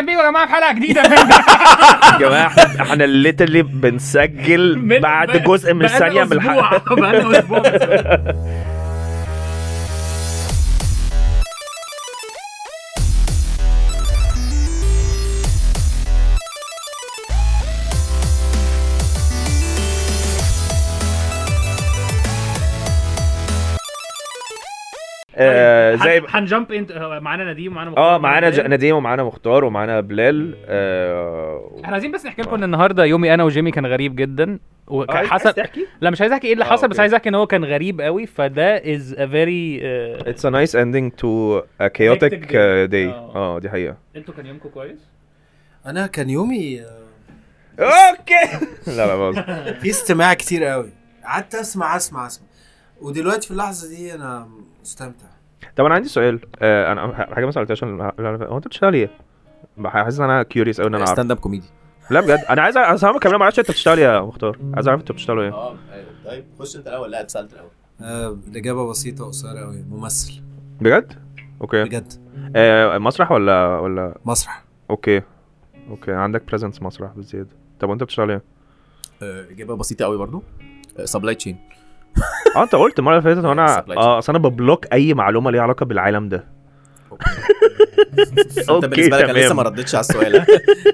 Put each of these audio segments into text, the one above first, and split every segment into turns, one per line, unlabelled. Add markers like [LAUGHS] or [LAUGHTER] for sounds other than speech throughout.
بيكم يا جماعه في
[LAUGHS]
حلقه جديده من
يا جماعه احنا احنا الليترلي بنسجل
[LAUGHS] من-
بعد
بقى-
جزء من
بقالنا
الثانيه من
أسبوع. [LAUGHS]
الحلقه
بقالنا اسبوع بس.
[LAUGHS]
أيوة.
آه، زي
هن- هنجامب انت آه، معانا إيه. نديم ومعانا
اه
مختار.
معانا ج- نديم ومعانا مختار ومعانا بلال آه،
احنا عايزين بس نحكي لكم ان النهارده يومي انا وجيمي كان غريب جدا وكان
عايز- عايز
حصل
تحكي؟
لا مش عايز احكي ايه اللي
آه،
حصل بس
أوكي.
عايز احكي ان هو كان غريب قوي فده از ا فيري آه،
It's a nice ending to a chaotic
Hectic day.
uh, day.
آه.
اه دي [LAUGHS] حقيقة.
انتوا كان يومكم [LAUGHS] كويس؟
انا كان يومي آه،
اوكي [LAUGHS] لا لا بقى.
في استماع كتير قوي قعدت اسمع اسمع اسمع ودلوقتي في اللحظه دي انا مستمتع
طب انا عندي سؤال آه، انا ح- حاجة ما سألتهاش ال- ال- هو انت بتشتغل ايه؟ بح- حاسس ان انا كيوريوس قوي ان انا اعرف
ستاند اب كوميدي
لا بجد انا عايز أ- انا صراحة كمان ما اعرفش انت بتشتغل إيه يا مختار عايز اعرف انت بتشتغل ايه
اه أيوة. طيب خش انت الاول لا اتسالت الاول
آه، الاجابه بسيطه وقصيره قوي ممثل
بجد؟ [LAUGHS] اوكي
بجد
آه، مسرح ولا ولا
مسرح
اوكي اوكي عندك بريزنس مسرح بالزيادة طب وانت بتشتغل ايه؟
آه، اجابه بسيطه قوي برضو آه، سبلاي
[LAUGHS]
تشين
اه انت قلت المره اللي فاتت وانا
Supply chain.
اه اصل انا ببلوك اي معلومه ليها علاقه
[LAUGHS]
بالعالم ده
انت
اوكي
بالنسبه لك انا لسه
تمام.
ما ردتش على السؤال
[LAUGHS]
ها؟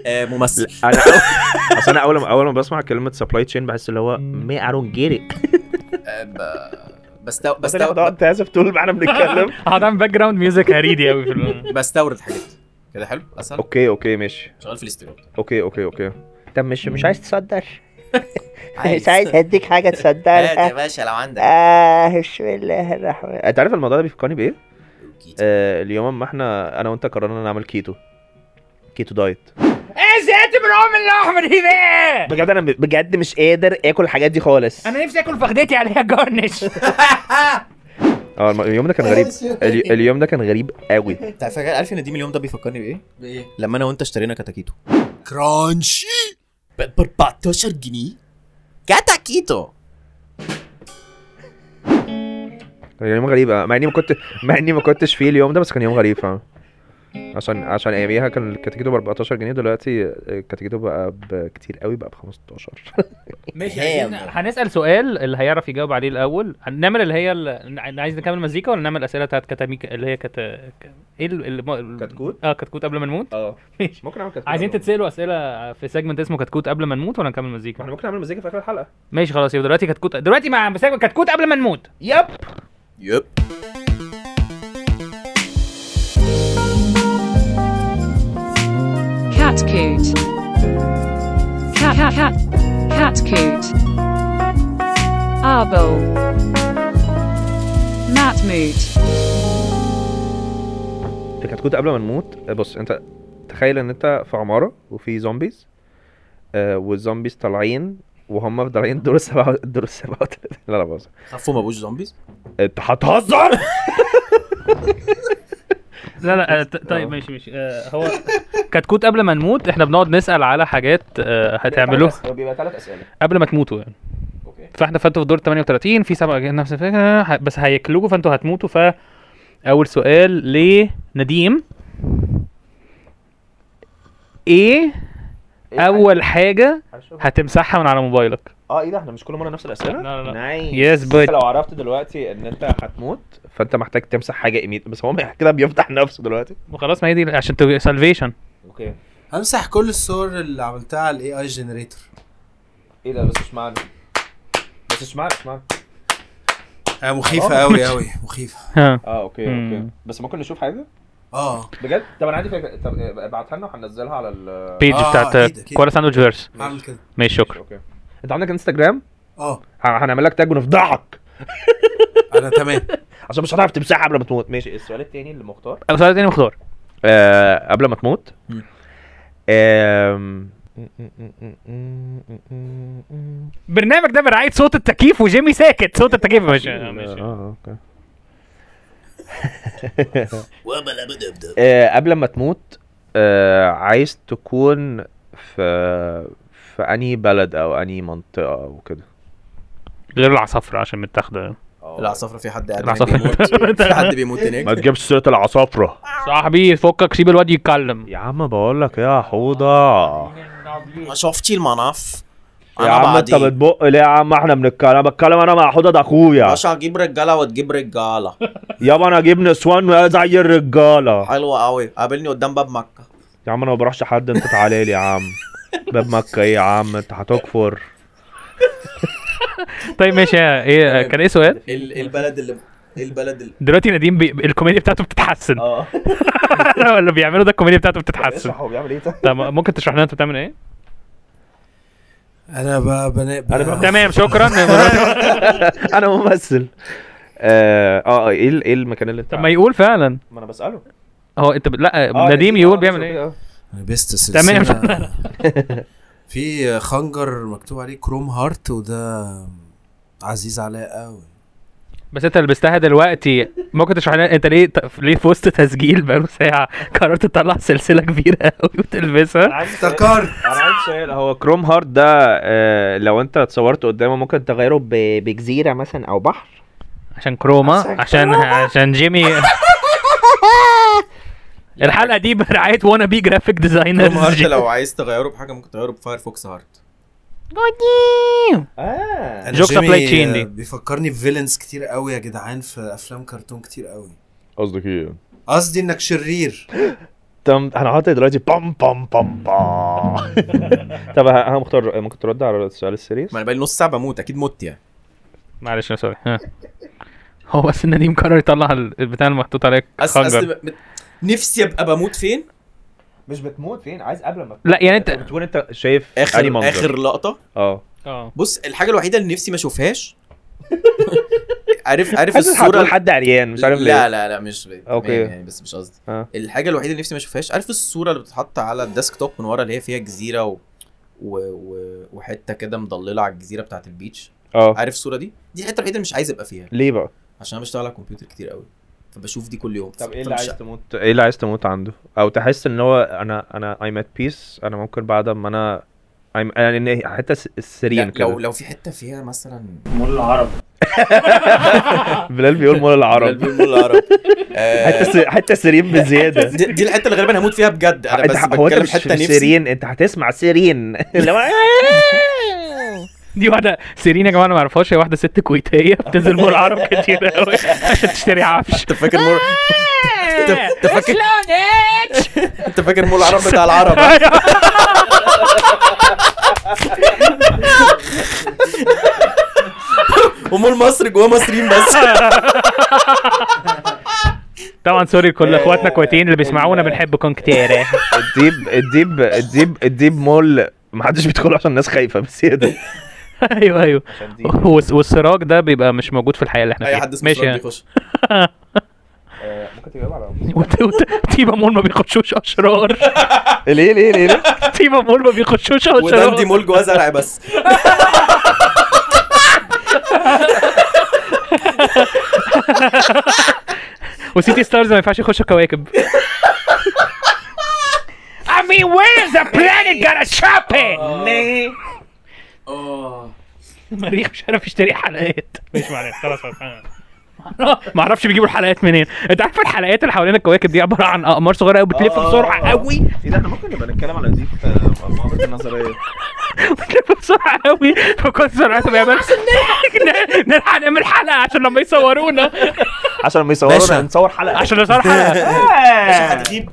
آه، ممثل
انا
[LAUGHS]
أول- اصل انا اول ما اول ما بسمع كلمه سبلاي تشين بحس اللي هو مي ايرون جيري
آه، ب- بستو... بستو...
انت اسف طول ما
[LAUGHS]
احنا بنتكلم
هتعمل باك جراوند ميوزك هريدي قوي في
[LAUGHS]
الم-
بستورد حاجات كده حلو اسهل
اوكي اوكي ماشي
شغال في الاستيراد
[LAUGHS] اوكي اوكي اوكي
طب مش مش عايز تصدر مش
عايز. آه،
عايز اديك حاجه
هات [LAUGHS] يا
تصدرها
باشا لو
آه.
عندك
اه بسم الله الرحمن
انت عارف الموضوع ده بيفكرني بايه؟
أكيد.
آه اليوم ما احنا انا وانت قررنا نعمل كيتو كيتو دايت إيه،
ايه زيت بالعم الاحمر دي بقى
بجد انا بجد مش قادر اكل الحاجات دي خالص
انا نفسي اكل فخدتي عليها جارنش
اه الم- اليوم ده كان
[LAUGHS]
غريب ال- اليوم ده كان غريب قوي
انت فاكر عارف ان دي اليوم ده بيفكرني بايه؟
بايه
لما انا وانت اشترينا كتاكيتو
كرانشي
ب 14 جنيه كتاكيتو
كان يوم غريب آه. مع اني ما كنت مع اني ما كنتش فيه اليوم ده بس كان يوم غريب فاهم عشان عشان اياميها كان الكتاكيتو ب 14 جنيه دلوقتي الكتاكيتو بقى بكتير قوي بقى ب 15
ماشي
Damn.
عايزين- هنسال سؤال اللي هيعرف يجاوب عليه الاول هنعمل اللي هي ال... عايز نكمل مزيكا ولا نعمل اسئله بتاعت كتاميك اللي هي كت ك- ايه ال- الم- ال...
كتكوت؟
اه كتكوت قبل ما نموت [LAUGHS]
اه
ماشي.
ممكن اعمل كتاكيتو
عايزين تتسالوا اسئله في سيجمنت اسمه كتكوت قبل ما نموت ولا نكمل
ما
مزيكا
احنا ممكن نعمل مزيكا في اخر الحلقه
ماشي خلاص يبقى دلوقتي كتكوت دلوقتي مع سيجمنت كتكوت قبل ما نموت
يب
يب
Catcoot. Cat cat cat catcoot. Arbol. Matmoot.
في كتكوت قبل ما نموت آه، بص انت تخيل ان انت في عماره وفي زومبيز آه والزومبيز طالعين وهم في طالعين دور السبعه دور السبعه [LAUGHS] لا لا بص
خفوا ما بقوش زومبيز
انت هتهزر
[LAUGHS] لا [LAUGHS] لا آه، ط- طيب
آه.
ماشي ماشي آه، هو كتكوت قبل ما نموت احنا بنقعد نسال على حاجات آه، هتعملوها
بيبقى ثلاث اسئله
قبل ما تموتوا يعني
اوكي
فاحنا فانتوا في دور 38 في سبعة جايين نفس الفكره ه- بس هياكلوكوا فانتوا هتموتوا ف اول سؤال لنديم ايه
إيه،
اول حاجه هتمسحها من على موبايلك
اه ايه ده احنا مش كل مره نفس الاسئله
لا، لا، لا.
نايس
Yes, but-
انت لو عرفت دلوقتي ان انت هتموت فانت محتاج تمسح حاجه ايميد بس هو [LAUGHS] كده بيفتح نفسه دلوقتي
وخلاص ما هي دي عشان تبقى سالفيشن
اوكي
همسح كل الصور اللي عملتها على الاي اي جنريتور
ايه ده بس اشمعنى بس اشمعنى اشمعنى
آه مخيفه
آه.
قوي قوي مخيفه
ها
اه اوكي
مم.
اوكي بس ممكن نشوف حاجه
اه
بجد طب انا عندي فكره طب آه، ابعتها لنا وهنزلها على ال
بيج
آه،
بتاعت
أكيد، أكيد.
كولا ساندويتش فيرس
هعمل كده
ماشي شكرا
اوكي انت عندك انستجرام
اه
ه- هنعمل لك تاج ونفضحك
انا تمام
عشان مش هتعرف تمسحها قبل ما تموت ماشي السؤال التاني اللي مختار
أه، سؤال تاني مختار
آه قبل ما تموت
مم.
آم،
البرنامج ده برعايه صوت التكييف وجيمي ساكت صوت التكييف يا باشا آه، ماشي.
اه [LAUGHS] اوكي
وبلا بدا بدا
آه، قبل ما تموت آه، عايز تكون في في انهي بلد او انهي منطقه وكده
غير العصافره عشان متاخده
العصافره في حد قاعد
العصافرة.
بيموت في
[LAUGHS]
حد بيموت
ما
هناك
تجيبش سيره العصافره
صاحبي فكك سيب الواد يتكلم
يا عم بقول لك يا حوضه
ما شفتي المناف
يا
انا
عم انت
بعدين
بتبق ليه يا عم احنا بنتكلم انا بتكلم انا مع حوضه ده اخويا
باشا هجيب رجاله وتجيب رجاله [LAUGHS]
يابا انا اجيب نسوان زي الرجاله
حلوه قوي قابلني قدام باب مكه
يا عم انا ما بروحش حد انت تعالى لي يا [LAUGHS] عم باب مكه ايه يا عم انت هتكفر
طيب ماشي يا- ايه كان ايه سؤال؟
ال- البلد اللي البلد اللي
دلوقتي نديم بي... الكوميديا بتاعته بتتحسن
اه
[LAUGHS] اللي بيعمله ده الكوميديا
[LAUGHS]
بتاعته بتتحسن
آه. هو بيعمل ايه
طب ممكن تشرح لنا انت بتعمل ايه؟
انا ب- بنا بنا-
تمام شكرا
انا ممثل اه اه ايه ال- ايه المكان اللي انت
طب ما يقول فعلا
ما انا بساله
هو انت ب...
آه،
لا نديم يقول بيعمل ايه؟
انا بيست
تمام.
سلسله [LAUGHS] في خنجر مكتوب عليه كروم هارت وده عزيز عليا قوي
بس انت لبستها دلوقتي ممكن تشرح لنا انت ليه ط- ليه في وسط تسجيل بقاله ساعه قررت تطلع سلسله كبيره قوي
[LAUGHS]
وتلبسها
افتكرت
انا عايز سؤال هو كروم هارت ده آه لو انت اتصورت قدامه ممكن تغيره ب- بجزيره مثلا او بحر
عشان كروما عشان عشان جيمي الحلقه دي برعايه وانا بي جرافيك
كروم هارت
ديزاينر
لو عايز تغيره بحاجه ممكن تغيره بفايرفوكس هارت
اه
جوك
جيمي،
سبلاي تشين دي.
آه، بيفكرني بفيلنز كتير قوي يا جدعان في افلام كرتون كتير قوي
قصدك ايه
قصدي انك شرير
طب انا حاطط دلوقتي بام بام بام [LAUGHS] بام طب ه- انا مختار ممكن ترد على السؤال السيريس
ما انا بقالي نص ساعه بموت اكيد مت يعني
معلش انا سوري ها. [LAUGHS] هو بس نديم قرر يطلع ال- البتاع المحطوط عليك
أس أس
خنجر
ب- نفسي ابقى بموت فين
مش بتموت فين عايز قبل ما
لا يعني انت
بتكون انت شايف أنهي
اخر
منظر؟
اخر لقطه
اه
اه
بص الحاجه الوحيده اللي نفسي ما
[LAUGHS]
اشوفهاش عارف عارف
حاسس هتقول
الصوره
حد عريان مش عارف ليه
لا لا لا مش
أوكي.
اوكي يعني بس مش قصدي
آه.
الحاجه الوحيده اللي نفسي ما اشوفهاش عارف الصوره اللي بتتحط على الديسكتوب من ورا اللي هي فيها جزيره و... و... و... وحته كده مضلله على الجزيره بتاعه البيتش
اه
عارف الصوره دي دي الحته الوحيده اللي مش عايز ابقى فيها
ليه بقى
عشان انا بشتغل على الكمبيوتر كتير قوي فبشوف دي كل يوم فمش-
تموت ايه اللي عايز تموت عنده او تحس ان هو انا انا ايم ات بيس انا ممكن بعد ما انا I'm- يعني حتى السرير
لا، لو
كده
لو في حته فيها
[LAUGHS]
مثلا
بلال بيقول مول العرب
بيقول العرب
حتى
آه،
الس- حتى سرير بزياده
دي دي الحته اللي غالبا هموت فيها بجد انا
انت
بس
هو انت
بتكلم
مش
حته
في
نفسي
سيرين انت هتسمع
[LAUGHS]
سيرين اللي هو
دي واحده سيرين يا جماعه انا ما اعرفهاش هي واحده ست كويتيه بتنزل مول عرب كتير قوي عشان تشتري
[LAUGHS]
عفش
انت فاكر مر... انت- انت
[LAUGHS]
فاكر
[LAUGHS]
انت فاكر مول العرب بتاع العرب ها؟ ومول مصر جواه مصريين بس
طبعا سوري كل اخواتنا كويتيين اللي بيسمعونا بنحبكم كتير [LAUGHS]
الديب الديب الديب الديب مول ما حدش بيدخله عشان الناس خايفه بس هي ده
ايوه ايوه والس- والسراج ده بيبقى مش موجود في الحياه اللي احنا
اي
فيها
حد اسمه ماشي
يعني.
بيخش
ممكن تجاوب على
[LAUGHS] وت- وت- تيبا مول ما
[LAUGHS]
بيخشوش اشرار
ليه ليه ليه [LAUGHS] ليه؟
تيبا مول ما بيخشوش اشرار
ودندي مول جواه زرع بس
وسيتي ستارز ما ينفعش يخشوا كواكب I mean where is the planet gonna shop it؟ المريخ مش عارف يشتري حلقات Oh. مش معنى خلاص خلاص. ما اعرفش بيجيبوا الحلقات منين انت عارف الحلقات اللي حوالين الكواكب دي عباره عن اقمار صغيره قوي بتلف بسرعه قوي
ايه ده احنا ممكن نبقى نتكلم على آه، دي في معبر النظريه
بتلف بسرعه قوي فكنت سرعته بيعمل نلحق [LAUGHS] نلحق نعمل حلقه عشان لما يصورونا
عشان ما يصوروا
باشا.
نصور حلقه
عشان نصور
[LAUGHS]
حلقه
آه.
هتغيب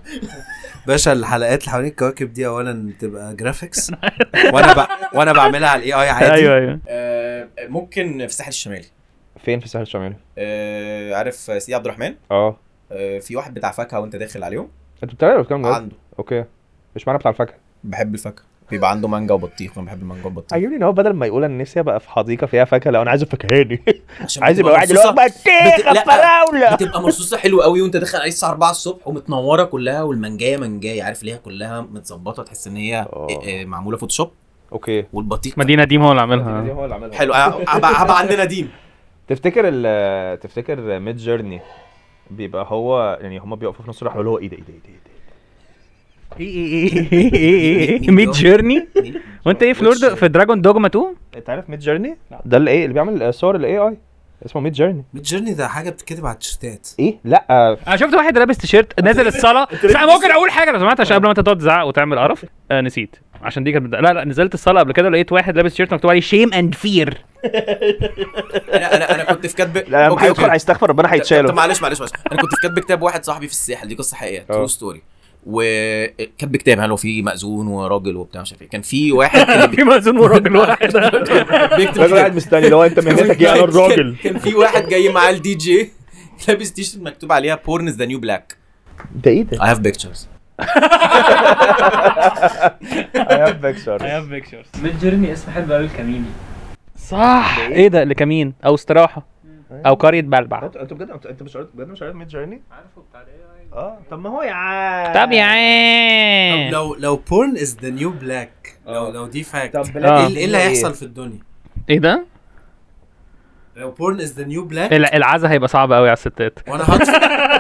باشا الحلقات اللي حوالين الكواكب دي اولا تبقى جرافيكس وانا ب... وانا بعملها على الاي اي عادي
أيوة.
ايوه ايوه
يعني آه، ممكن في الساحل الشمالي
فين في الساحل الشمالي؟
آه، عارف سيدي عبد الرحمن
اه
آه، في واحد بتاع فاكهه وانت داخل عليهم
انتوا بتتكلموا الكلام ده؟
عنده
اوكي مش معنى بتاع الفاكهه
بحب الفاكهه بيبقى عنده مانجا وبطيخ وانا بحب المانجا والبطيخ
عاجبني ان هو بدل ما يقول انا نفسي ابقى في حديقه فيها فاكهه لو انا عايز فاكهاني
عشان
عايز يبقى [LAUGHS]
بتبقى
واحد اللي
مرصوصة-
هو بطيخه
بت- لا.
[LAUGHS] فراوله
بتبقى مرصوصه حلو قوي وانت داخل عليه الساعه 4 الصبح ومتنوره كلها والمانجايه منجايه عارف ليها كلها متظبطه تحس ان هي
آه.
آه، معموله فوتوشوب
اوكي
والبطيخ
مدينه ديم هو اللي
دي
عاملها
هو اللي عملها
حلو آه، هبقى هبقى عندنا دين
تفتكر ال تفتكر ميد جيرني بيبقى هو يعني هم بيقفوا في نص الرحله اللي هو ايه ده ايه ده ايه ده إيه ده؟
ايه ايه ايه ايه ميد جيرني وانت ايه في لورد في دراجون دوجما 2
انت عارف ميد جيرني ده اللي ايه اللي بيعمل إيه، صور الاي اي اسمه ميد جيرني
ميد جيرني ده حاجه بتتكتب على التيشيرتات
ايه لا
انا شفت واحد لابس تيشيرت نازل الصلاه صح، ممكن اقول حاجه لو سمحت عشان قبل ما انت تقعد تزعق وتعمل قرف آه نسيت عشان دي كانت لا لا نزلت الصلاه قبل كده لقيت واحد لابس تيشيرت مكتوب عليه شيم اند فير
انا انا انا كنت في كاتب
لا لما هيدخل هيستغفر ربنا
طب
هيتشاله
معلش معلش معلش انا كنت في كاتب كتاب واحد صاحبي في الساحل دي قصه حقيقيه
آه.
ترو ستوري وكاتب كتاب يعني هو في مأذون وراجل وبتاع مش عارف ايه كان في واحد كان
[LAUGHS] في مأذون وراجل واحد
بيكتب
الراجل
كتاب.
قاعد مستني
[LAUGHS]
لو انت مهنتك ايه انا الراجل
كان في واحد جاي معاه الدي جي لابس تيشرت مكتوب عليها بورن ذا نيو بلاك
ده ايه ده؟
اي هاف بيكتشرز
ميد جيرني اسم حلو قوي الكميني
صح ايه ده اللي كمين او استراحه او قريه بلبع
انت بجد انت مش عارف بجد مش عارف ميد جيرني؟ عارفه بتاع اه طب ما هو يا عم
طب يا
طب
عين
لو لو بورن از ذا نيو بلاك لو لو دي فاكت
آه. طب
ايه
بلاك
آه.
اللي- إيه اللي هيحصل في الدنيا
ايه ده؟
لو بورن از ذا نيو بلاك
الع- العزا هيبقى صعب قوي على الستات
وانا هطفي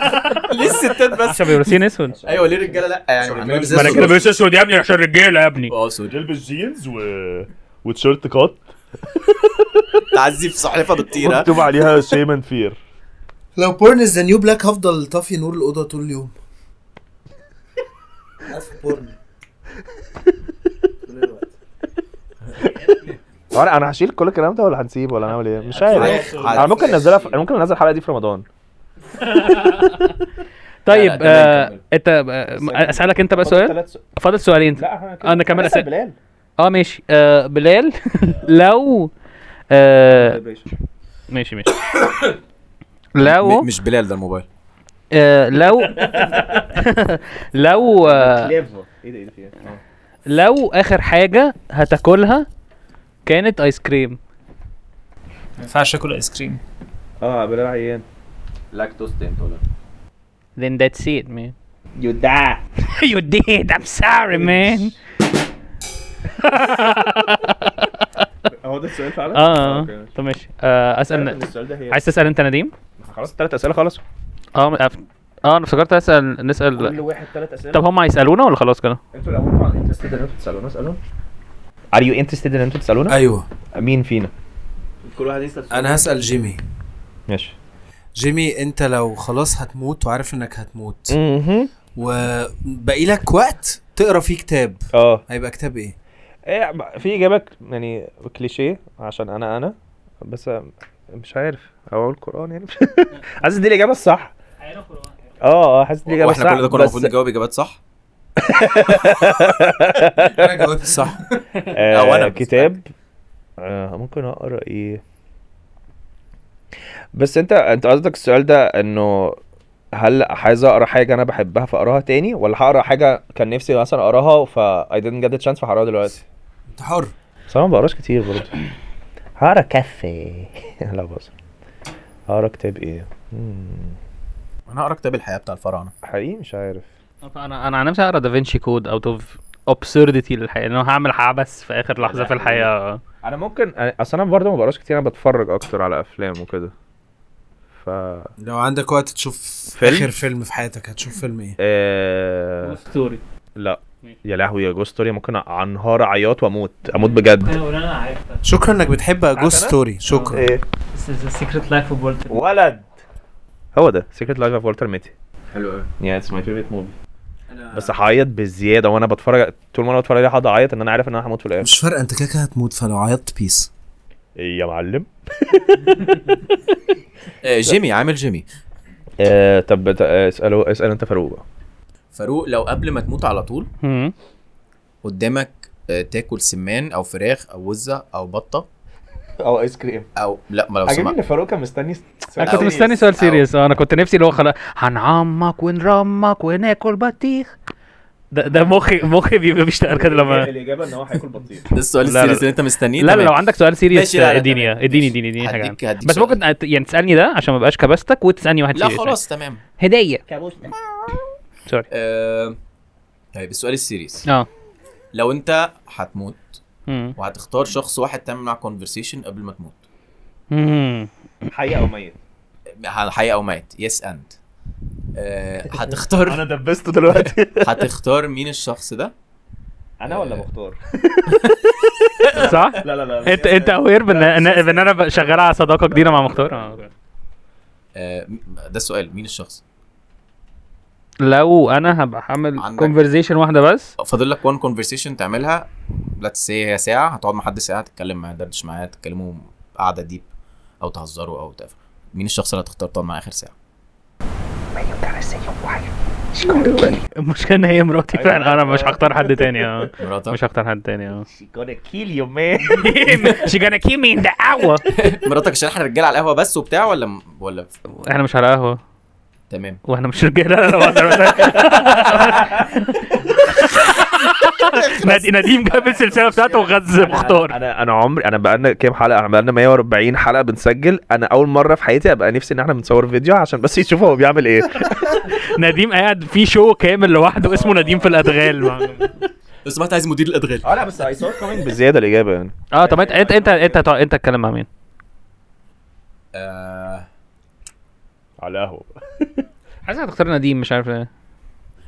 [LAUGHS] ليه الستات [LAUGHS] بس
عشان بيبقوا لابسين اسود
ايوه ليه الرجاله لا يعني
ما انا كده بلبس اسود يا ابني عشان رجاله يا ابني
اه سوري
تلبس جينز و وتيشيرت كات
تعذيب صحيفه
[LAUGHS]
بتطير ها؟
مكتوب عليها شيم اند فير
لو بورن از ذا نيو بلاك هفضل طافي نور الاوضه طول اليوم عارف بورن
انا انا هشيل كل الكلام ده ولا هنسيبه ولا هنعمل ايه؟ مش عارف انا ممكن انزلها في... انا ممكن انزل الحلقه دي في رمضان
طيب
لا، لا،
آه،
تمام،
انت آه، اسالك انت بقى سؤال فاضل سؤالين
لا
أنا كمان
اسال
أسأل.
بلال
اه ماشي آه بلال [LAUGHS] لو آه ماشي ماشي لو
مش بلال ده الموبايل
آه لو لو آه
ايه ده ايه ده في إيه؟ آه.
لو اخر حاجه هتاكلها كانت ايس كريم
ما ينفعش اكل ايس كريم
اه بلال عيان
لاكتوز انتولرنت
then that's it man [LAUGHS]
يو دع
you did I'm sorry
[LAUGHS]
man
هو ده السؤال فعلا؟
اه
أوكي.
طب ماشي آه اسال
السؤال ده هي
عايز تسال انت نديم
خلاص الثلاث اسئله خلصوا
اه م- أف- اه انا افتكرت اسال نسال
واحد ثلاث اسئله
طب هم هيسالونا ولا خلاص كده
انتوا الاول طبعا انترستد ان انتوا تسالونا اسالونا ار يو انترستد ان انتوا تسالونا؟
ايوه
مين فينا؟
كل واحد يسال سؤال.
انا هسال جيمي
ماشي
جيمي انت لو خلاص هتموت وعارف انك هتموت وباقي لك وقت تقرا فيه كتاب
اه
هيبقى كتاب [LAUGHS] ايه؟
ايه ب- في اجابه ك- يعني كليشيه عشان انا انا بس مش عارف او اقول قران يعني [LAUGHS] حاسس دي الاجابه الصح اه اه حاسس دي الاجابه الصح
واحنا كل ده كنا
بس
المفروض نجاوب اجابات صح
انا جاوبت صح
[LAUGHS] آه
أو أنا بس.
كتاب آه ممكن اقرا ايه بس انت انت قصدك السؤال ده انه هل عايز اقرا حاجه انا بحبها فاقراها تاني ولا هقرا حاجه كان نفسي مثلا اقراها فا I didn't get the chance فهقراها دلوقتي
انت حر
بس انا ما بقراش كتير برضه هقرا كفي [LAUGHS] لا بص هقرا كتاب ايه مم.
انا هقرا كتاب الحياه بتاع الفراعنه
حقيقي مش عارف
انا انا عن نفسي هقرا دافنشي كود اوت اوف ابسرديتي للحياه ان انا هعمل عبث في اخر لحظه في الحياه
انا ممكن أنا- اصل انا برضه ما بقراش كتير انا بتفرج اكتر على افلام وكده ف
لو عندك وقت تشوف
فيلم؟
اخر فيلم في حياتك هتشوف فيلم ايه؟
آه...
ستوري
لا يا لهوي يا جوستوري ممكن انهار عياط واموت اموت بجد
اقول انا عارفها
شكرا انك بتحب اجو
عارف أنا؟
ستوري شكرا
ايه
سيكريت لايف اوف والتر
ولد هو ده سيكريت لايف اوف والتر ميتي
حلو قوي
يعني اتس ماي فيفرت موفي بس هعيط بزياده وانا بتفرج طول ما انا بتفرج عليها هقعد اعيط ان انا عارف ان انا هموت في الاخر
مش فارقه انت كده كده هتموت فلو عيطت بيس
ايه يا معلم
آه، جيمي عامل جيمي
آه طب ت- آه، اساله اسال انت فاروق بقى
فاروق لو قبل ما تموت على طول
اه
قدامك آه، تاكل سمان او فراخ او وزه او بطه
او ايس كريم
او لا ما لو سمحت
فاروق كان مستني
انا كنت
أو-
مستني سؤال
أو-
سيريس انا كنت نفسي اللي هو خلاص هنعمك ونرمك وناكل بطيخ ده ده مخي مخي بيبقى بيشتغل كده [LAUGHS] لما
الاجابه ان هو هياكل بطيخ
ده السؤال
لا، لا،
السيريس
لا.
اللي انت مستنيه
لا لا
إيه، تمام.
لو عندك سؤال سيريس
ماشي، لا، لا،
اديني
تمام.
اديني اديني اديني حاجه
هديك
عنه.
هديك
بس
سؤال.
ممكن أت- يعني تسالني ده عشان ما ابقاش كبستك وتسالني واحد
لا
سيريس يعني.
خلاص تمام
هديه
كابوسنا
سوري
آه، طيب السؤال السيريس
اه
لو انت هتموت
مم.
وهتختار شخص واحد تعمل معاه كونفرسيشن قبل ما تموت
مم.
حي او ميت
حي او ميت يس اند آه،
[LAUGHS]
هتختار
دبسته دلوقتي
هتختار مين الشخص ده
انا ولا مختار
صح؟
لا لا لا
انت انت اوير بان إن- بان انا ب- شغال على صداقه جديده مع مختار آه.
آه، م- ده السؤال مين الشخص؟
لو انا هبقى هعمل
عندك-
كونفرزيشن واحده بس
فاضل لك وان conversation تعملها لتس سي هي ساعه هتقعد مع حد ساعه تتكلم معاه تدردش معاه تتكلموا قعده ديب او تهزروا او تقفل مين الشخص اللي هتختار تقعد معاه اخر ساعه؟
المشكله ان هي مراتي
أيوة.
فعلا انا مش هختار حد تاني اه
مراتك
مش هختار حد تاني اه
She gonna kill you man
شي جانا كيل مي ان ذا اور
مراتك عشان احنا رجاله على القهوه بس وبتاع ولا م- ولا
احنا مش على قهوه
تمام
واحنا مش رجاله لا، لا بهزر، بهزر. ند- نديم جاب السلسله بتاعته وغز مختار
انا انا عمري انا بقالنا كام حلقه احنا بقالنا 140 حلقه بنسجل انا اول مره في حياتي ابقى نفسي ان احنا بنصور فيديو عشان بس يشوفوا هو بيعمل ايه
نديم قاعد في شو كامل لوحده اسمه نديم في الادغال
لو سمحت عايز مدير الادغال
اه لا بس I saw it coming بالزياده الاجابه يعني
اه طب انت انت انت انت هتقعد- انت هتتكلم مع مين؟
آه
على قهوه بقى.
عايز هتختار نديم مش عارف ليه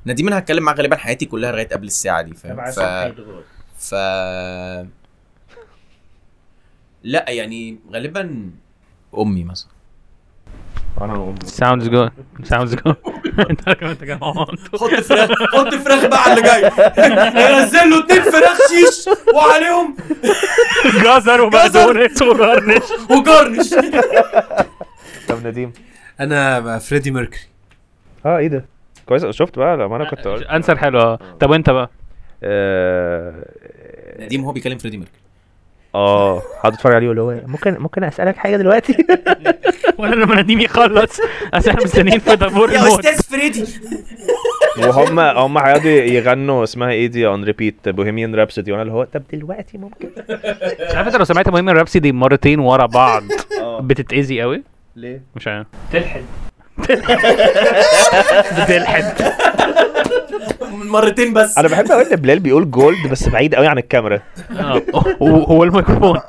نديم انا هتكلم معاه غالبا حياتي كلها لغايه قبل الساعه دي فاهم ف... ف لا يعني غالبا امي مثلا
sounds good sounds
[LAUGHS]
good انت انت كده
حط فراخ حط فراخ بقى على اللي جاي هينزل له اتنين فراخ شيش وعليهم
جزر وبقدونس وقرنش
وجرنش
طب نديم
انا بقى فريدي ميركري
اه ايه ده كويس شفت بقى لما انا [LAUGHS] كنت قلت
انسر حلو اه طب وانت
[LAUGHS]
بقى
اه
نديم هو بيكلم فريدي ميركل
اه هقعد اتفرج عليه اللي هو ممكن ممكن اسالك حاجه دلوقتي [LAUGHS]
ولا لما نديم [LAUGHS] يخلص اصل احنا مستنيين في دبور الموت
فريدي
وهم هم هيقعدوا يغنوا اسمها ايه دي اون ريبيت بوهيميان رابسودي وانا اللي هو طب دلوقتي ممكن
مش عارف انت لو سمعت مهم الرابسي دي مرتين ورا بعض بتتاذي قوي
ليه؟
مش عارف
تلحد
[LAUGHS] بتلحد
مرتين بس
انا بحب اقول ان بلال بيقول جولد بس بعيد قوي عن الكاميرا
آه.
اه
[LAUGHS]
هو الميكروفون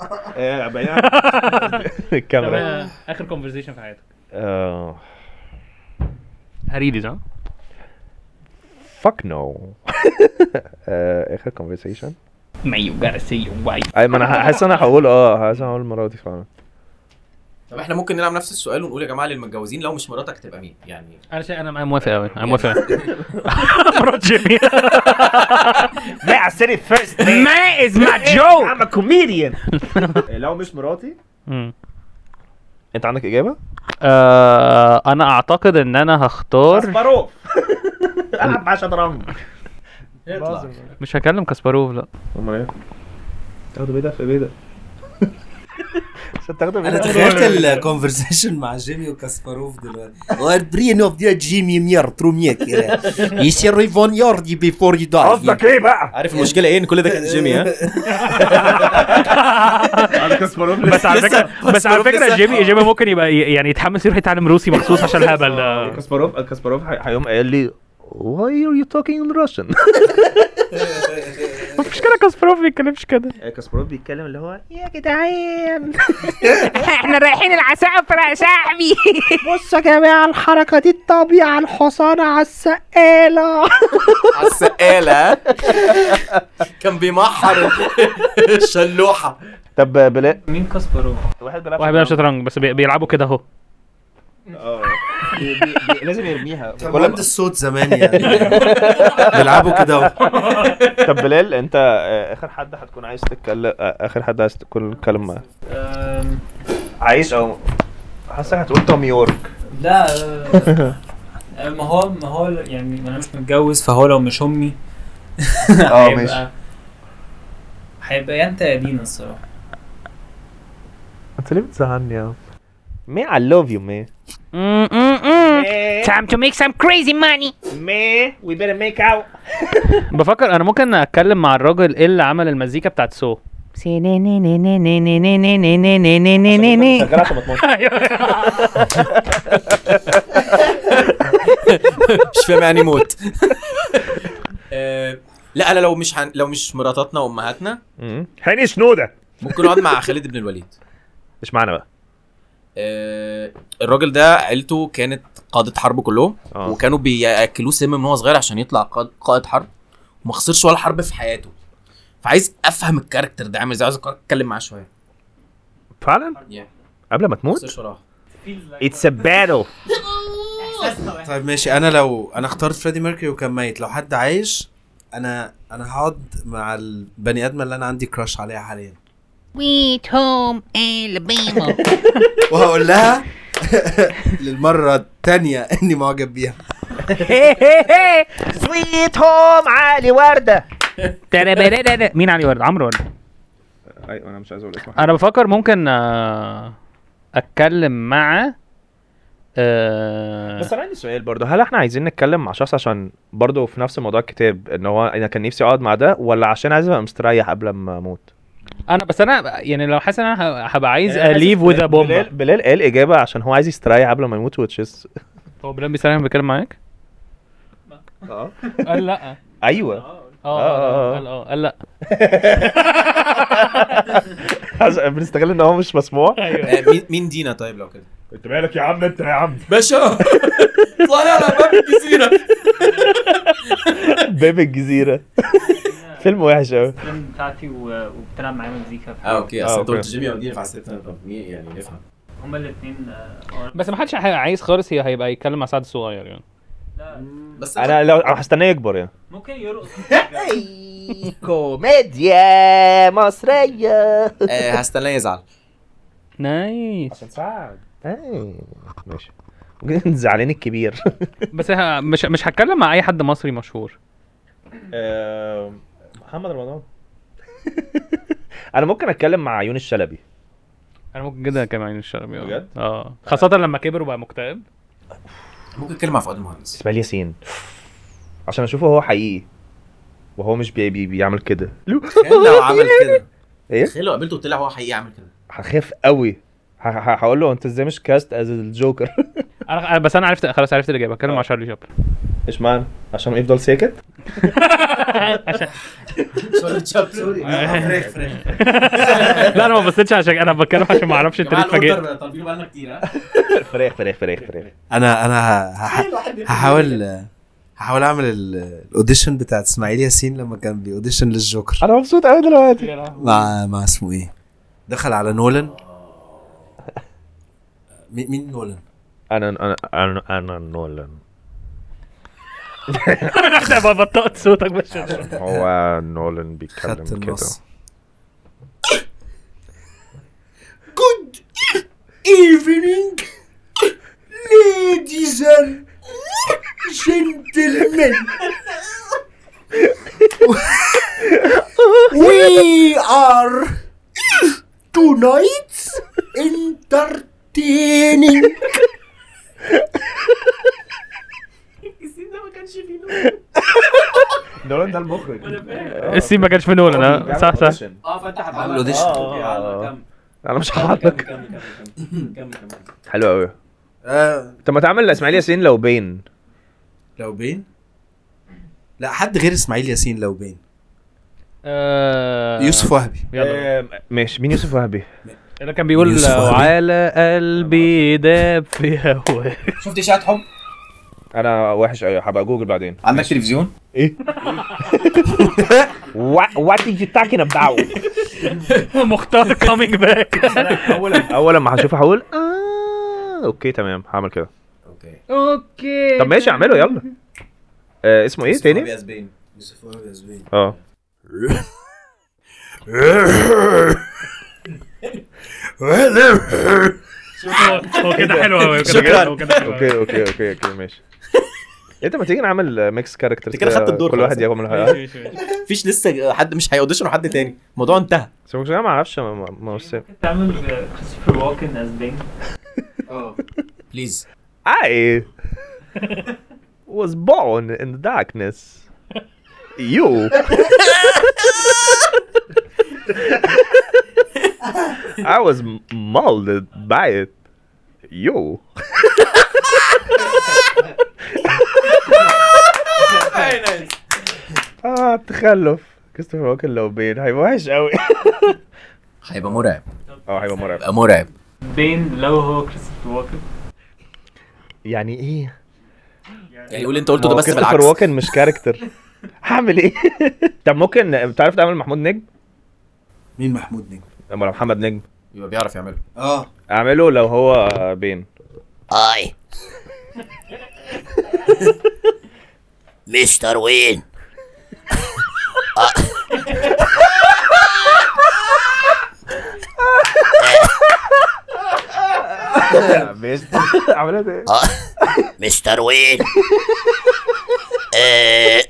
[LAUGHS] الكاميرا
اخر كونفرزيشن في حياتك
اه
هريدي صح؟
فك [LAUGHS] نو اخر كونفرسيشن
ما يو جاتا سي يو واي
اي ما انا حاسس انا هقول اه حاسس انا هقول المره دي فعلا
طب احنا ممكن نلعب نفس السؤال ونقول يا جماعه للمتجوزين لو مش مراتك تبقى مين يعني
انا شايف انا موافق قوي انا موافق [LAUGHS] مرات
[LAUGHS]
جيمي
لا I said it first
ما از ما جو
a comedian
لو مش مراتي
انت عندك اجابه؟
انا اعتقد ان انا
[LAUGHS]
هختار
مروف العب مع شطرنج لازم
مش هكلم كاسباروف
[LAUGHS]
لا
امال ايه؟ تاخدوا بيضه في [LAUGHS] بيضه عشان تاخدوا
انا تخيلت الكونفرسيشن مع جيمي وكاسباروف دلوقتي برين اوف ذا جيمي مير ترو ميك يسير فون ياردي بيفور يو داي
قصدك ايه بقى؟
عارف المشكله ايه ان كل ده كان
[LAUGHS]
جيمي ها
بس على فكره بس على
كاسباروف
فكره
لسه-
جيمي جيمي ممكن يبقى ي- يعني يتحمس يروح يتعلم روسي مخصوص عشان
[LAUGHS]
الهبل ده
كاسباروف كاسباروف هي- هيقوم قايل لي Why are you talking in Russian؟
مفيش كده كاسباروف ما بيتكلمش كده
كاسباروف بيتكلم اللي هو
يا جدعان احنا رايحين العسافرة يا صاحبي بصوا يا جماعة الحركة دي الطبيعة الحصان على السقالة
على السقاله كان بيمحر الشلوحه
طب بلا
مين كاسباروف؟
واحد
واحد بيلعب شطرنج بس بي- بيلعبوا كده اهو
آه.
يرميها
كل الصوت زمان يعني بيلعبوا كده اهو.
طب بلال انت آه، اخر حد هتكون عايز تتكلم آه، اخر حد عايز تكون تتكلم معاه عايز او حاسسك هتقول توم [LAUGHS] يورك
لا آه، ما هو ما هو يعني انا مش متجوز فهو لو مش امي
اه
هيبقى-
ماشي
هيبقى يعني يا انت يا دينا الصراحه
انت ليه بتزعلني يا مي I love you مي
Time to make some crazy money
مي we better make out
[LAUGHS] بفكر انا ممكن اتكلم مع الراجل إيه اللي عمل المزيكا بتاعت سو
شغال عشان
[LAUGHS]
ما تموتش.
أيوه.
[LAUGHS] مش فاهم يعني موت [LAUGHS] آه، لا انا لو مش هن... لو مش مراتاتنا وامهاتنا
هاني شنودة
ممكن اقعد مع خالد بن الوليد
مش معانا بقى
آه، الراجل ده عيلته كانت قادة حرب كلهم
آه.
وكانوا بياكلوه سم من هو صغير عشان يطلع قا- قائد حرب وما خسرش ولا حرب في حياته فعايز افهم الكاركتر ده عامل ازاي عايز اتكلم معاه شويه
فعلا
Yeah.
قبل ما تموت
بس وراها
اتس ا باتل
طيب ماشي انا لو انا اخترت فريدي ميركوري وكان ميت لو حد عايش انا انا هقعد مع البني ادم اللي انا عندي كراش عليها حاليا
Sweet home Alabama.
وهقول لها [LAUGHS] للمره الثانيه اني معجب بيها
سويت هوم علي ورده
ترابرابرا. مين علي ورد عمرو ورد
ايوه انا مش عايز اقول اسمه
انا بفكر ممكن آه، اتكلم مع آه،
بس انا عندي سؤال برضه هل احنا عايزين نتكلم مع شخص عشان برضه في نفس موضوع الكتاب ان هو انا كان نفسي اقعد مع ده ولا عشان عايز ابقى مستريح قبل ما اموت
انا بس انا يعني لو حاسس ان انا ه- هبقى
يعني
عايز اليف وذ بومب
بلال, إيه، بلال قال اجابه عشان هو عايز يستريح قبل ما يموت وتشيز
هو بلال بيسلم بيتكلم معاك
[LAUGHS] اه
قال لا
ايوه
اه قال اه قال لا
عشان بنستغل ان هو مش مسموع
آه، مين مين دينا طيب لو كده
انت مالك يا عم انت يا عم
باشا [LAUGHS] اطلع لي على باب الجزيره
[LAUGHS] باب [LAUGHS] الجزيره فيلم وحش قوي
بتاعتي و- وبتلعب معايا مزيكا
اه
آه.
اوكي اصل انت
أوكي.
قلت جيمي ودينا فحسيت انا طب مين يعني نفهم
هما آه، الاثنين
بس ما حدش هيبقى عايز خالص هي هيبقى يتكلم مع سعد الصغير يعني
بس
انا لو أنا هستناه يكبر يعني
ممكن يرقص
كوميديا
[LAUGHS]
مصريه
آه، هستناه يزعل
نايس
آه، ماشي زعلان الكبير
بس ه- مش مش هتكلم مع اي حد مصري مشهور
آه، محمد [LAUGHS] رمضان انا ممكن اتكلم مع عيون الشلبي
انا ممكن جدا كمان عين الشربي آه.
بجد؟
اه خاصه لما كبر وبقى مكتئب
ممكن اتكلم مع فؤاد
[LAUGHS]
المهندس
اسماعيل ياسين عشان اشوفه هو حقيقي وهو مش بي بي بيعمل كده
كان لو عمل كده
تخيل لو قابلته وطلع هو حقيقي عامل كده
هخاف قوي ه- ه- هقول له انت ازاي مش كاست از [LAUGHS] الجوكر
انا أنا- بس انا عرفت خلاص عرفت الاجابه اتكلم
آه.
مع شارلي شابلن
اشمعنى عشان يفضل ساكت
[LAUGHS] سوري تشابلن
آه،
فريخ فريخ
[LAUGHS] لا انا ما بصيتش عشان انا بتكلم عشان ما اعرفش انت ليه اتفاجئت
طالبينه بقالنا كتير ها
فراخ فراخ فراخ فراخ
انا انا هح- هحاول هحاول اعمل ال- الاوديشن بتاعت اسماعيل ياسين لما كان بيوديشن للجوكر
انا مبسوط قوي دلوقتي
مع مع اسمه ايه دخل على نولان
آه.
مي- مين نولان
انا انا انا انا نولان
احنا بطأت صوتك بس
آه. هو نولان بيتكلم
خدت
كده
النص Good evening ladies and gentlemen We are tonight entertaining
نولان ده
[LAUGHS]
المخرج
السين ما كانش في نولان آه. صح صح
اه فانت هتعمل
الأوديشن.
آه،
اوكي يلا، كمل.
انا مش هحطك
كمل، كمل، كمل، كمل، كمل.
حلو قوي طب ما تعمل اسماعيل ياسين لو بين
آه، لو بين لا حد غير اسماعيل ياسين لو بين
آه،
يوسف وهبي
يلا
آه، ماشي مين يوسف وهبي
اللي كان بيقول
يوسف علي.
على قلبي داب في هواه
شفت اشاعه حب
انا وحش قوي هبقى جوجل بعدين
عندك تلفزيون
وات يو تاكين اباوت
[LAUGHS] مختار كامينج [LAUGHS] باك
اول لما هشوف هقول آه اوكي تمام هعمل كده
اوكي
اوكي
طب ماشي اعمله يلا آه اسمه ايه تاني
اسباني
يوسف وهبي ياسين
اه
هو كده حلو قوي
شكراً.
كده حلو أوي.
اوكي اوكي اوكي اوكي ماشي انت ما تيجي نعمل ميكس كاركترز
أنت كده خدت الدور
كل
خلاص.
واحد ياخد من
ماشي،
واحد
ماشي، ماشي.
مفيش لسه آه، حد مش هيوديشن حد تاني الموضوع انتهى
بس مش ما اعرفش ما- ما- ما بس-
تعمل كريستوفر واكن از بينج
بليز
I was born in the [LAUGHS] darkness you I was molded by it [LAUGHS] you اه التخلف كريستوفر ووكن لو بين هيبقى وحش قوي
هيبقى مرعب
اه هيبقى مرعب
هيبقى مرعب
بين لو هو كريستوفر واكن
يعني ايه
يعني قول اللي انت قلته ده
هو
بس
كريستوفر
بالعكس
ووكن مش كاركتر هعمل [LAUGHS] ايه طب ممكن بتعرف تعمل محمود نجم
مين محمود نجم
ولا محمد نجم
يبقى بيعرف يعمله
اه
اعمله لو هو بين
اي مستر وين
عملها ايه
مستر وين ايه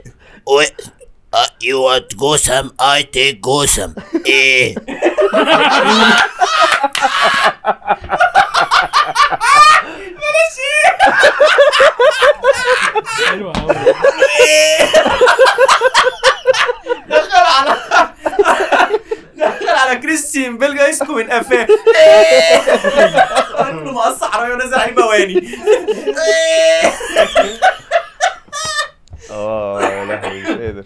يو وات جوسم اي تيك جوسم ايه
حلوه قوي
دخل على دخل على كريستيان بيل جايسكو من قفاه راجل مقص حرامي ونازل عليه بواني
اه يا لهوي مش قادر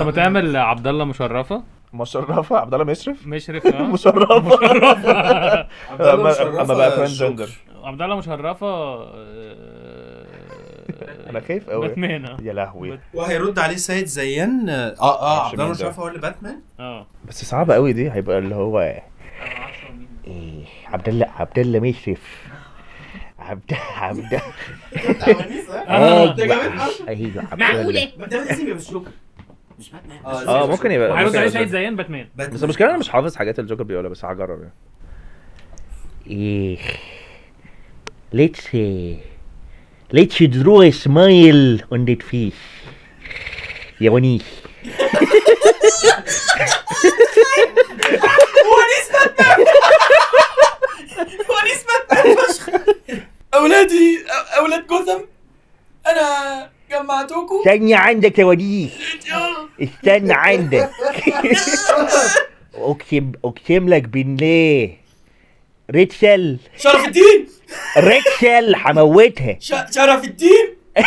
طب ما تعمل عبد الله مشرفه
مشرفه عبد الله مشرف
مشرف
[LAUGHS]
آه.
مشرفه [LAUGHS]
مشرفه
اما أما بقى ترانسجندر
عبد الله مشرفه آه،
انا خايف قوي
باتمان آه.
يا لهوي
وهيرد عليه سيد زيان اه اه عبد
معرفش
الله
مين ده.
مشرف هو اللي باتمان
اه
بس صعبه قوي دي هيبقى اللي هو ايه عبد الله عبد الله مشرف عبد عبد [LAUGHS]
آه.
ايوه عبد الله
ما ده اسمي مش جوكر آه، مش باتمان
اه ممكن يبقى
هيرد
ممكن
عليه
يبقى
سيد زيان باتمان
باتمان.
بس المشكله انا مش حافظ حاجات الجوكر بيقولها بس هجرب يعني
ايه ليتس ليتس درو سمايل اون ذات فيس يابانيش
ونيس باتمان فشخ
[LAUGHS]
اولادي أو- اولاد جوثم انا
[LAUGHS]
جمعتكم
استنى عندك يا وديك استنى عندك [LAUGHS] اقسم اقسم لك بالله ريتشل
شرف الدين
ريتشل هموتها
ش- شرف الدين
[LAUGHS]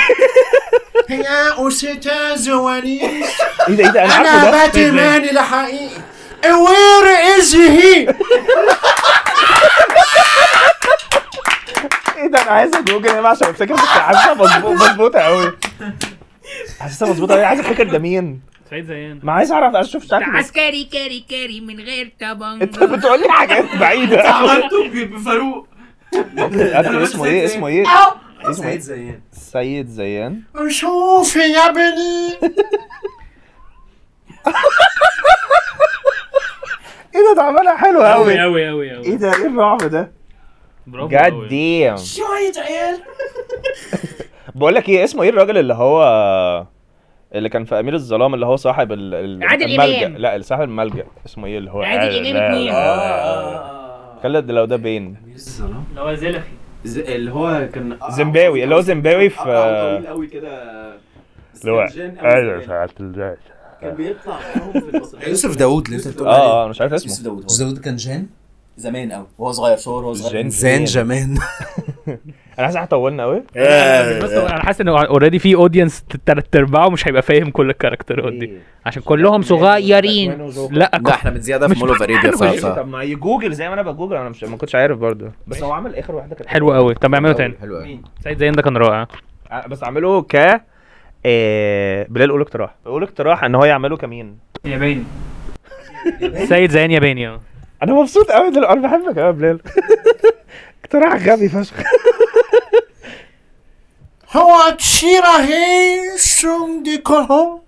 يا أستاذ وليد
إيه
ايه ده ايه ده انا
أنا
عارفه ده
باتمان الحقيقي وير إز هي
ايه ده انا عايز جوجل يا جماعه عشان افتكر بس حاسسها مظبوط- مظبوطه قوي حاسسها مظبوطه قوي عايز افتكر ده مين
سيد زيان
ما عايز اعرف اشوف شكله
عسكري كاري كاري من غير طبنجة
انت بتقول لي حاجات بعيده
عملته ب- بفاروق
قبل اسمه ايه اسمه ايه اسمه
سيد
ايه
زيان
سيد زيان
شوف يا بني
ايه ده ده عملها حلوه
قوي
قوي
قوي قوي
ايه
قوي
ده ايه الرعب ده
برافو
جاد
قوي
ديم
[LAUGHS] شوية عيال
بقول لك ايه اسمه ايه الراجل اللي هو اللي كان في امير الظلام اللي هو صاحب ال- ال-
عادل
الملجأ
إمام.
لا صاحب الملجأ اسمه ايه اللي هو
عادل إمام
لا،
اتنين.
لا، لا. خلد لو ده بين
اللي هو زلفي
اللي هو كان آه،
زيمباوي اللي هو زيمباوي في
طويل قوي كده
اللي هو
سكنجان أوي
ايوه
زمان.
فعلت ازاي
كان بيطلع معاهم في المسرحيه
يوسف داوود اللي أنت بتقول
اه
عليه
انا مش عارف
يوسف
اسمه
داوود هو.
يوسف داوود كان جان
زمان قوي وهو صغير صور وهو صغير
جين
زان
جين.
جمان
انا حاسس إن إحنا طولنا قوي
بس انا حاسس ان اوريدي في اودينس تلات ارباعه مش هيبقى فاهم كل الكاركترات
إيه.
دي
أيوة.
عشان كلهم صغيرين لا
لا احنا من زياده في مول اوف
[LAUGHS]
اريبيا ف
طيب، طب ما يجوجل زي ما انا بجوجل انا مش ما كنتش عارف برضه بس هو عمل اخر واحده كانت
حلو قوي طب اعمله تاني
حلو قوي
سيد زيان ده كان رائع
ع- بس عمله ك آه، بلال قول اقتراح قول اقتراح ان هو يعمله كمين
ياباني
سيد زيان ياباني اه
انا مبسوط قوي دلوقتي انا بحبك قوي يا بلال [LAUGHS] اقتراح غبي فشخ [LAUGHS]
هو تشيرا هي سندكهم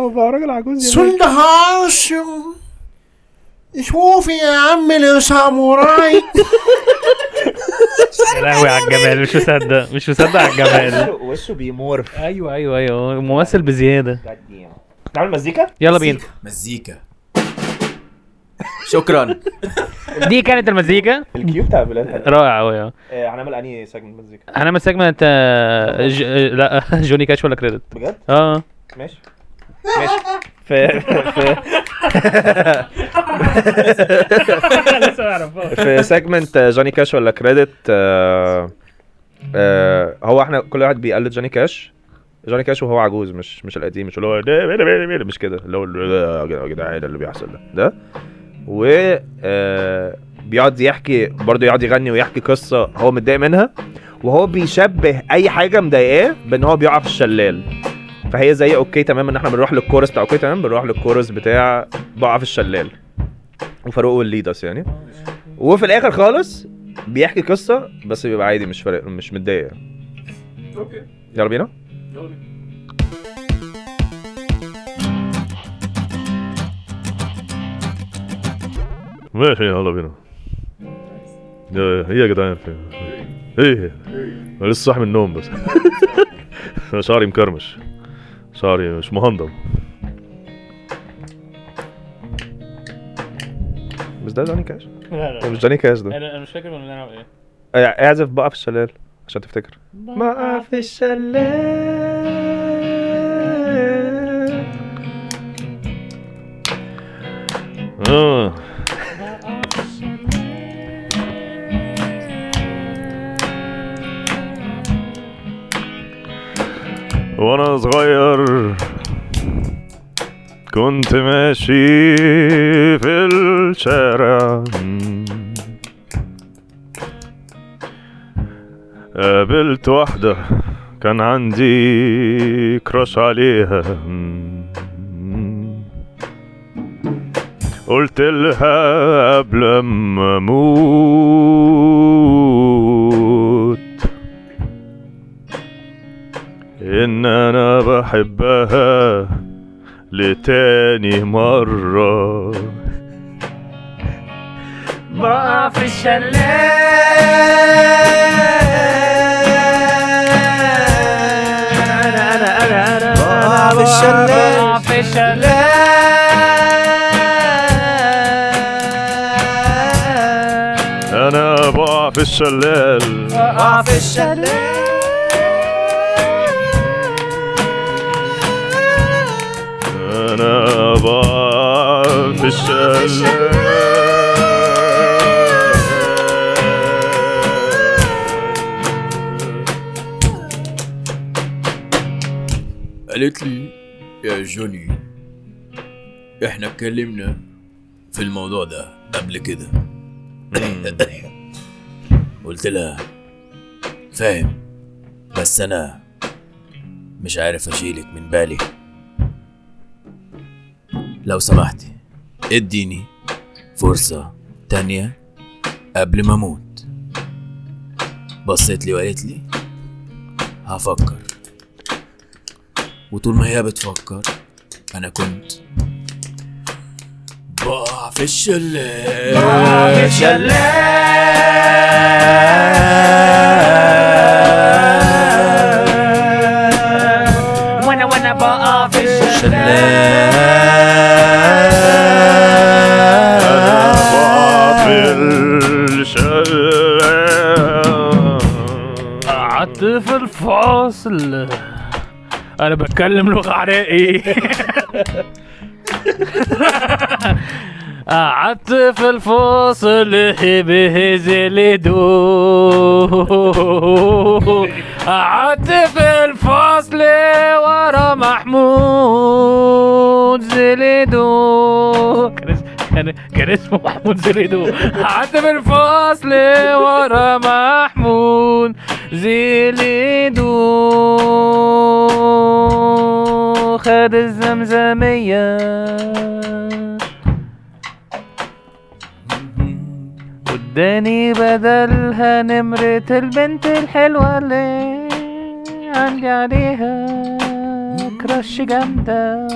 هو بقى راجل عجوز يا بلال.
سندهاش شوف يا عم الساموراي
يا لهوي على الجمال مش مصدق مش مصدق على
[LAUGHS]
الجمال
وشه- وشه بيمورف
ايوه ايوه ايوه ممثل بزياده
تعمل مزيكا
يلا بينا
مزيكا شكرا
دي كانت المزيكا
الكيو بتاع بلال حلو.
رائع قوي اه
آه، هنعمل انهي سجن مزيكا
هنعمل سيجمنت آه، لا [LAUGHS] جوني كاش ولا كريدت
بجد
اه
ماشي ماشي في في
لسه ما اعرفهاش
في سيجمنت جوني كاش ولا كريدت آه، آه، هو احنا كل واحد بيقلد جوني كاش جوني كاش وهو عجوز مش مش القديم مش اللي هو ده- ده- ده- ده- مش كده اللي هو ده- ده- يا جدعان ده اللي بيحصل ده ده و آه، بيقعد يحكي برضه يقعد يغني ويحكي قصه هو متضايق منها وهو بيشبه اي حاجه مضايقاه بان هو بيقع في الشلال فهي زي اوكي تمام ان احنا بنروح للكورس بتاع اوكي تمام بنروح للكورس بتاع ضعف الشلال وفاروق والليدس يعني وفي الاخر خالص بيحكي قصه بس بيبقى عادي مش فارق مش متضايق يعني.
اوكي
يلا بينا
يلا بينا.
ماشي يلا بينا يا- ايه يا جدعان فين؟ ايه انا لسه صاحي من النوم بس [LAUGHS] أنا شعري مكرمش شعري مش مهندم
بس ده داني كاش
لا لا
ده مش داني كاش ده
انا أنا مش فاكر كنا بنلعب ايه
اعزف بقى في الشلال عشان تفتكر بقى في الشلال
اه وانا صغير كنت ماشي في الشارع قابلت واحدة كان عندي كراش عليها قلت لها قبل ما اموت ان انا بحبها لتاني مرة
بقى في الشلال انا انا انا انا
بقع في الشلال. بقع
في الشلال
انا بقع في الشلال
بقع في الشلال
انا بقع في الشلال
قالت لي يا جوني احنا اتكلمنا في الموضوع ده قبل كده قلت لها فاهم بس انا مش عارف اشيلك من بالي لو سمحتي اديني فرصة تانية قبل ما اموت بصيت لي وقالت لي هفكر وطول ما هي بتفكر انا كنت بقع في الشلال بقع في
وانا وانا
oh.
بقى في
انا بقع
الشلال
في الشلال
قعدت في الفاصل انا بتكلم لغه عراقي قعدت في الفاصل بهزل دو قعدت في الفاصل ورا محمود زليدو كان اس- كان كان اسمه محمود زليدو قعدت في الفاصل ورا محمود زليدو خد الزمزمية واداني بدلها نمرة البنت الحلوة اللي عندي عليها كراش جامدة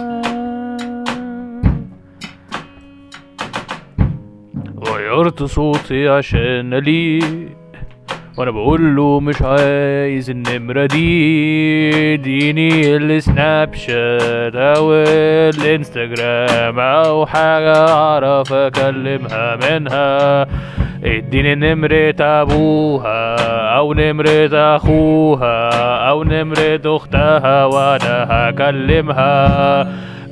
غيرت صوتي عشان أليق وانا بقول له مش عايز النمرة دي اديني السناب شات او الانستجرام او حاجة اعرف اكلمها منها اديني نمرة ابوها او نمرة اخوها او نمرة اختها وانا هكلمها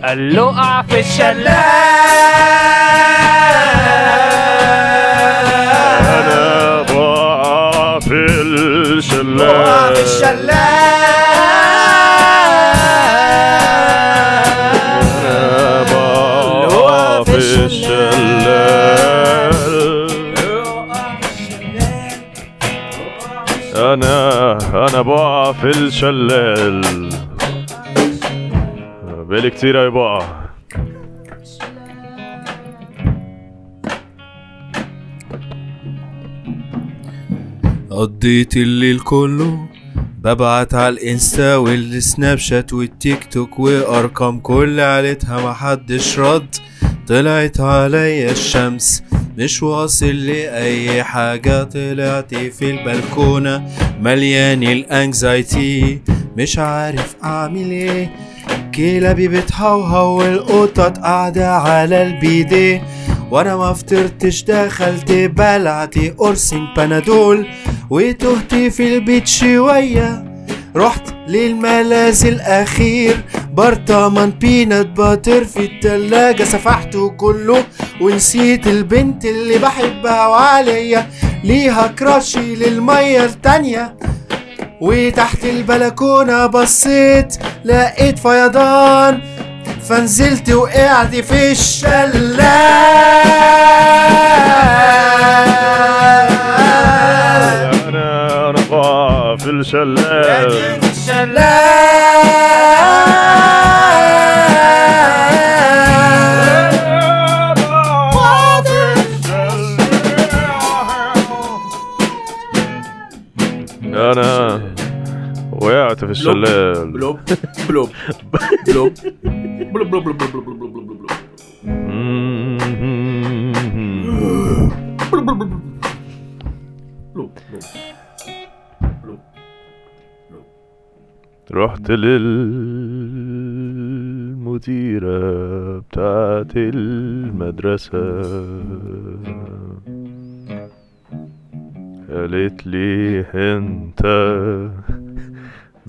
قال له اقع في الشلال
انا بقع في الشلال بقع في الشلال انا بقع في الشلال انا انا بقع في الشلال بقالي كتير أوي بقع
قضيت الليل كله ببعت على الانستا والسناب شات والتيك توك وارقام كل عيلتها محدش رد طلعت عليا الشمس مش واصل لأي حاجة طلعت في البلكونة مليان الانكزايتي مش عارف اعمل ايه كلابي بتهوهو والقطط قاعدة على البيديه وانا ما فطرتش دخلت بلعتي قرصين بنادول وتهت في البيت شوية رحت للملاذ الأخير برطمان بينات باتر في التلاجة سفحته كله ونسيت البنت اللي بحبها وعليا ليها كراشي للمية التانية وتحت البلكونة بصيت لقيت فيضان فنزلت وقعت في الشلال
أنا أرقع في الشلال
الشلال
أنا وقعت في الشلال
بلوب بلوب
[LAUGHS]
بلوب بلوب بلوب بلوب بلوب بلوب بلوب بلوب
رحت للمديرة بتاعت المدرسة قالت لي انت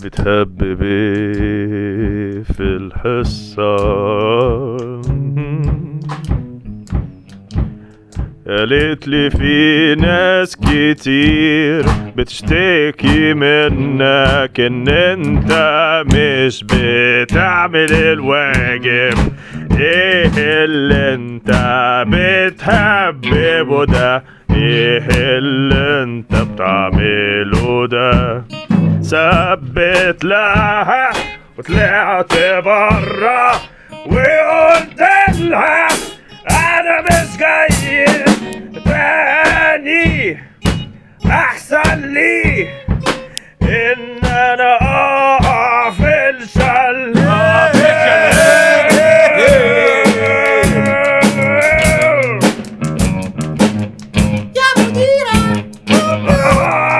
بتهبب ايه في الحصة قالت لي في ناس كتير بتشتكي منك ان انت مش بتعمل الواجب ايه اللي انت بتحببه ده ايه اللي انت بتعمله ده ثبت لها وطلعت برا وقلت لها انا مش جاي تاني احسن لي ان انا اقع في الشلال اقع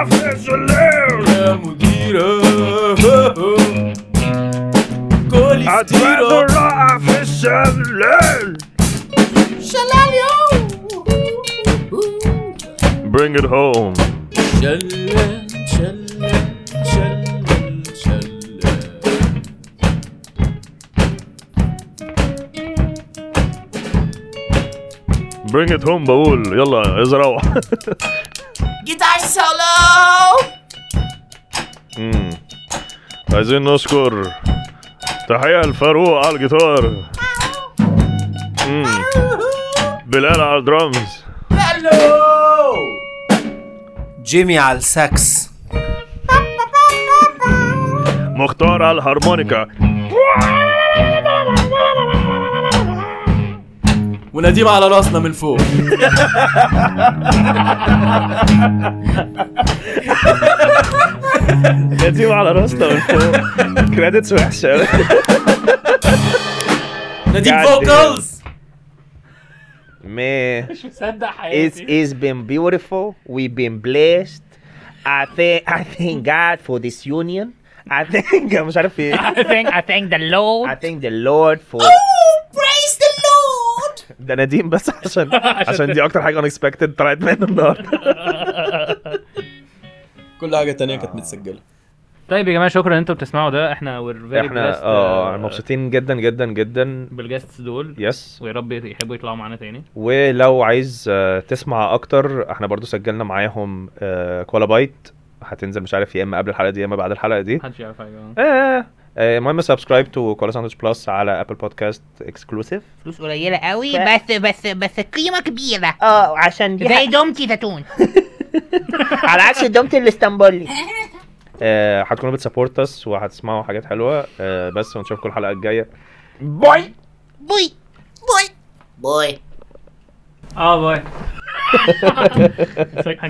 في الشلال
يا مديرة كولي
هتقدر اقع في الشلال Bring it home.
شلل شلل شلل شلل
Bring it home بقول يلا عايز اروح [LAUGHS]
جيتار سولو
مم. عايزين نشكر تحية لفاروق على الجيتار مم. بلال على الدرامز
جيمي على الساكس
مختار على الهارمونيكا
ونديم على راسنا من فوق
نديم على راسنا من فوق كريدتس وحشه أوي.
نديم
God
فوكلز
Man,
مصدق
it's it's been beautiful. We've been blessed. I thank I thank God for this union. I thank [LAUGHS] مش عارف ايه.
I think I think the Lord
I thank the Lord for
بريز ذا لورد
ده نديم بس عشان عشان دي اكتر حاجه unexpected طلعت منه النهارده.
كل حاجة تانية كانت متسجلة
طيب يا جماعه شكرا ان انتوا بتسمعوا ده احنا we're very blessed،
احنا اه مبسوطين جدا جدا جدا
بالجاستس دول
يس
ويا رب يحبوا يطلعوا معانا تاني
ولو عايز آه، تسمع اكتر احنا برضو سجلنا معاهم آه، كوالابايت هتنزل مش عارف يا اما قبل الحلقه دي يا اما بعد الحلقه دي
محدش يعرف حاجه
آه، آه، المهم سبسكرايب تو كولا ساندويتش بلس على ابل بودكاست اكسكلوسيف
فلوس قليلة قوي بس بس بس قيمة كبيرة
اه عشان دي
زي دومتي زيتون
[LAUGHS] على عكس دومة الاسطنبولي
آه، هتكونوا بتسبورت اس وهتسمعوا حاجات حلوه آه، بس ونشوفكم الحلقه الجايه
باي
باي
Ah,
باي باي
اه باي